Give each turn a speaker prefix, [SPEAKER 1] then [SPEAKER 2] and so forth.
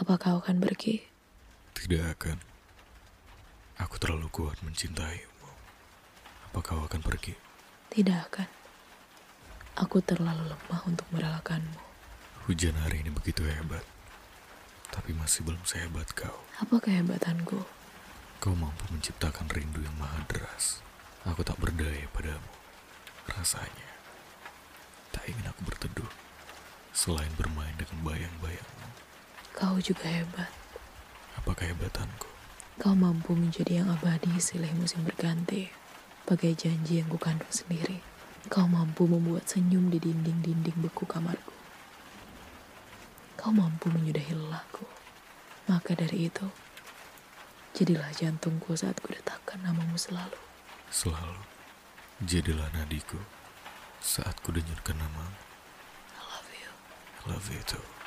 [SPEAKER 1] Apa kau akan pergi?
[SPEAKER 2] Tidak akan. Aku terlalu kuat mencintaimu. Apa kau akan pergi?
[SPEAKER 1] Tidak akan. Aku terlalu lemah untuk merelakanmu.
[SPEAKER 2] Hujan hari ini begitu hebat. Tapi masih belum sehebat kau.
[SPEAKER 1] Apa kehebatanku?
[SPEAKER 2] Kau mampu menciptakan rindu yang maha deras. Aku tak berdaya padamu. Rasanya. Tak ingin aku berteduh. Selain bermain dengan bayang-bayangmu.
[SPEAKER 1] Kau juga hebat.
[SPEAKER 2] Apa kehebatanku?
[SPEAKER 1] Kau mampu menjadi yang abadi silih musim berganti. Bagai janji yang kukandung sendiri. Kau mampu membuat senyum di dinding-dinding beku kamarku. Kau mampu menyudahi lelahku. Maka dari itu, jadilah jantungku saat kudetakkan namamu selalu.
[SPEAKER 2] Selalu. Jadilah nadiku. Saat ku denyutkan namamu.
[SPEAKER 1] I love you.
[SPEAKER 2] I love you too.